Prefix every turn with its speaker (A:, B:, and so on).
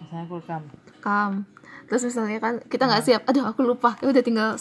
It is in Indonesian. A: misalnya kulkam
B: Kam. Terus misalnya kan kita nggak siap. Aduh, aku lupa. Ya udah tinggal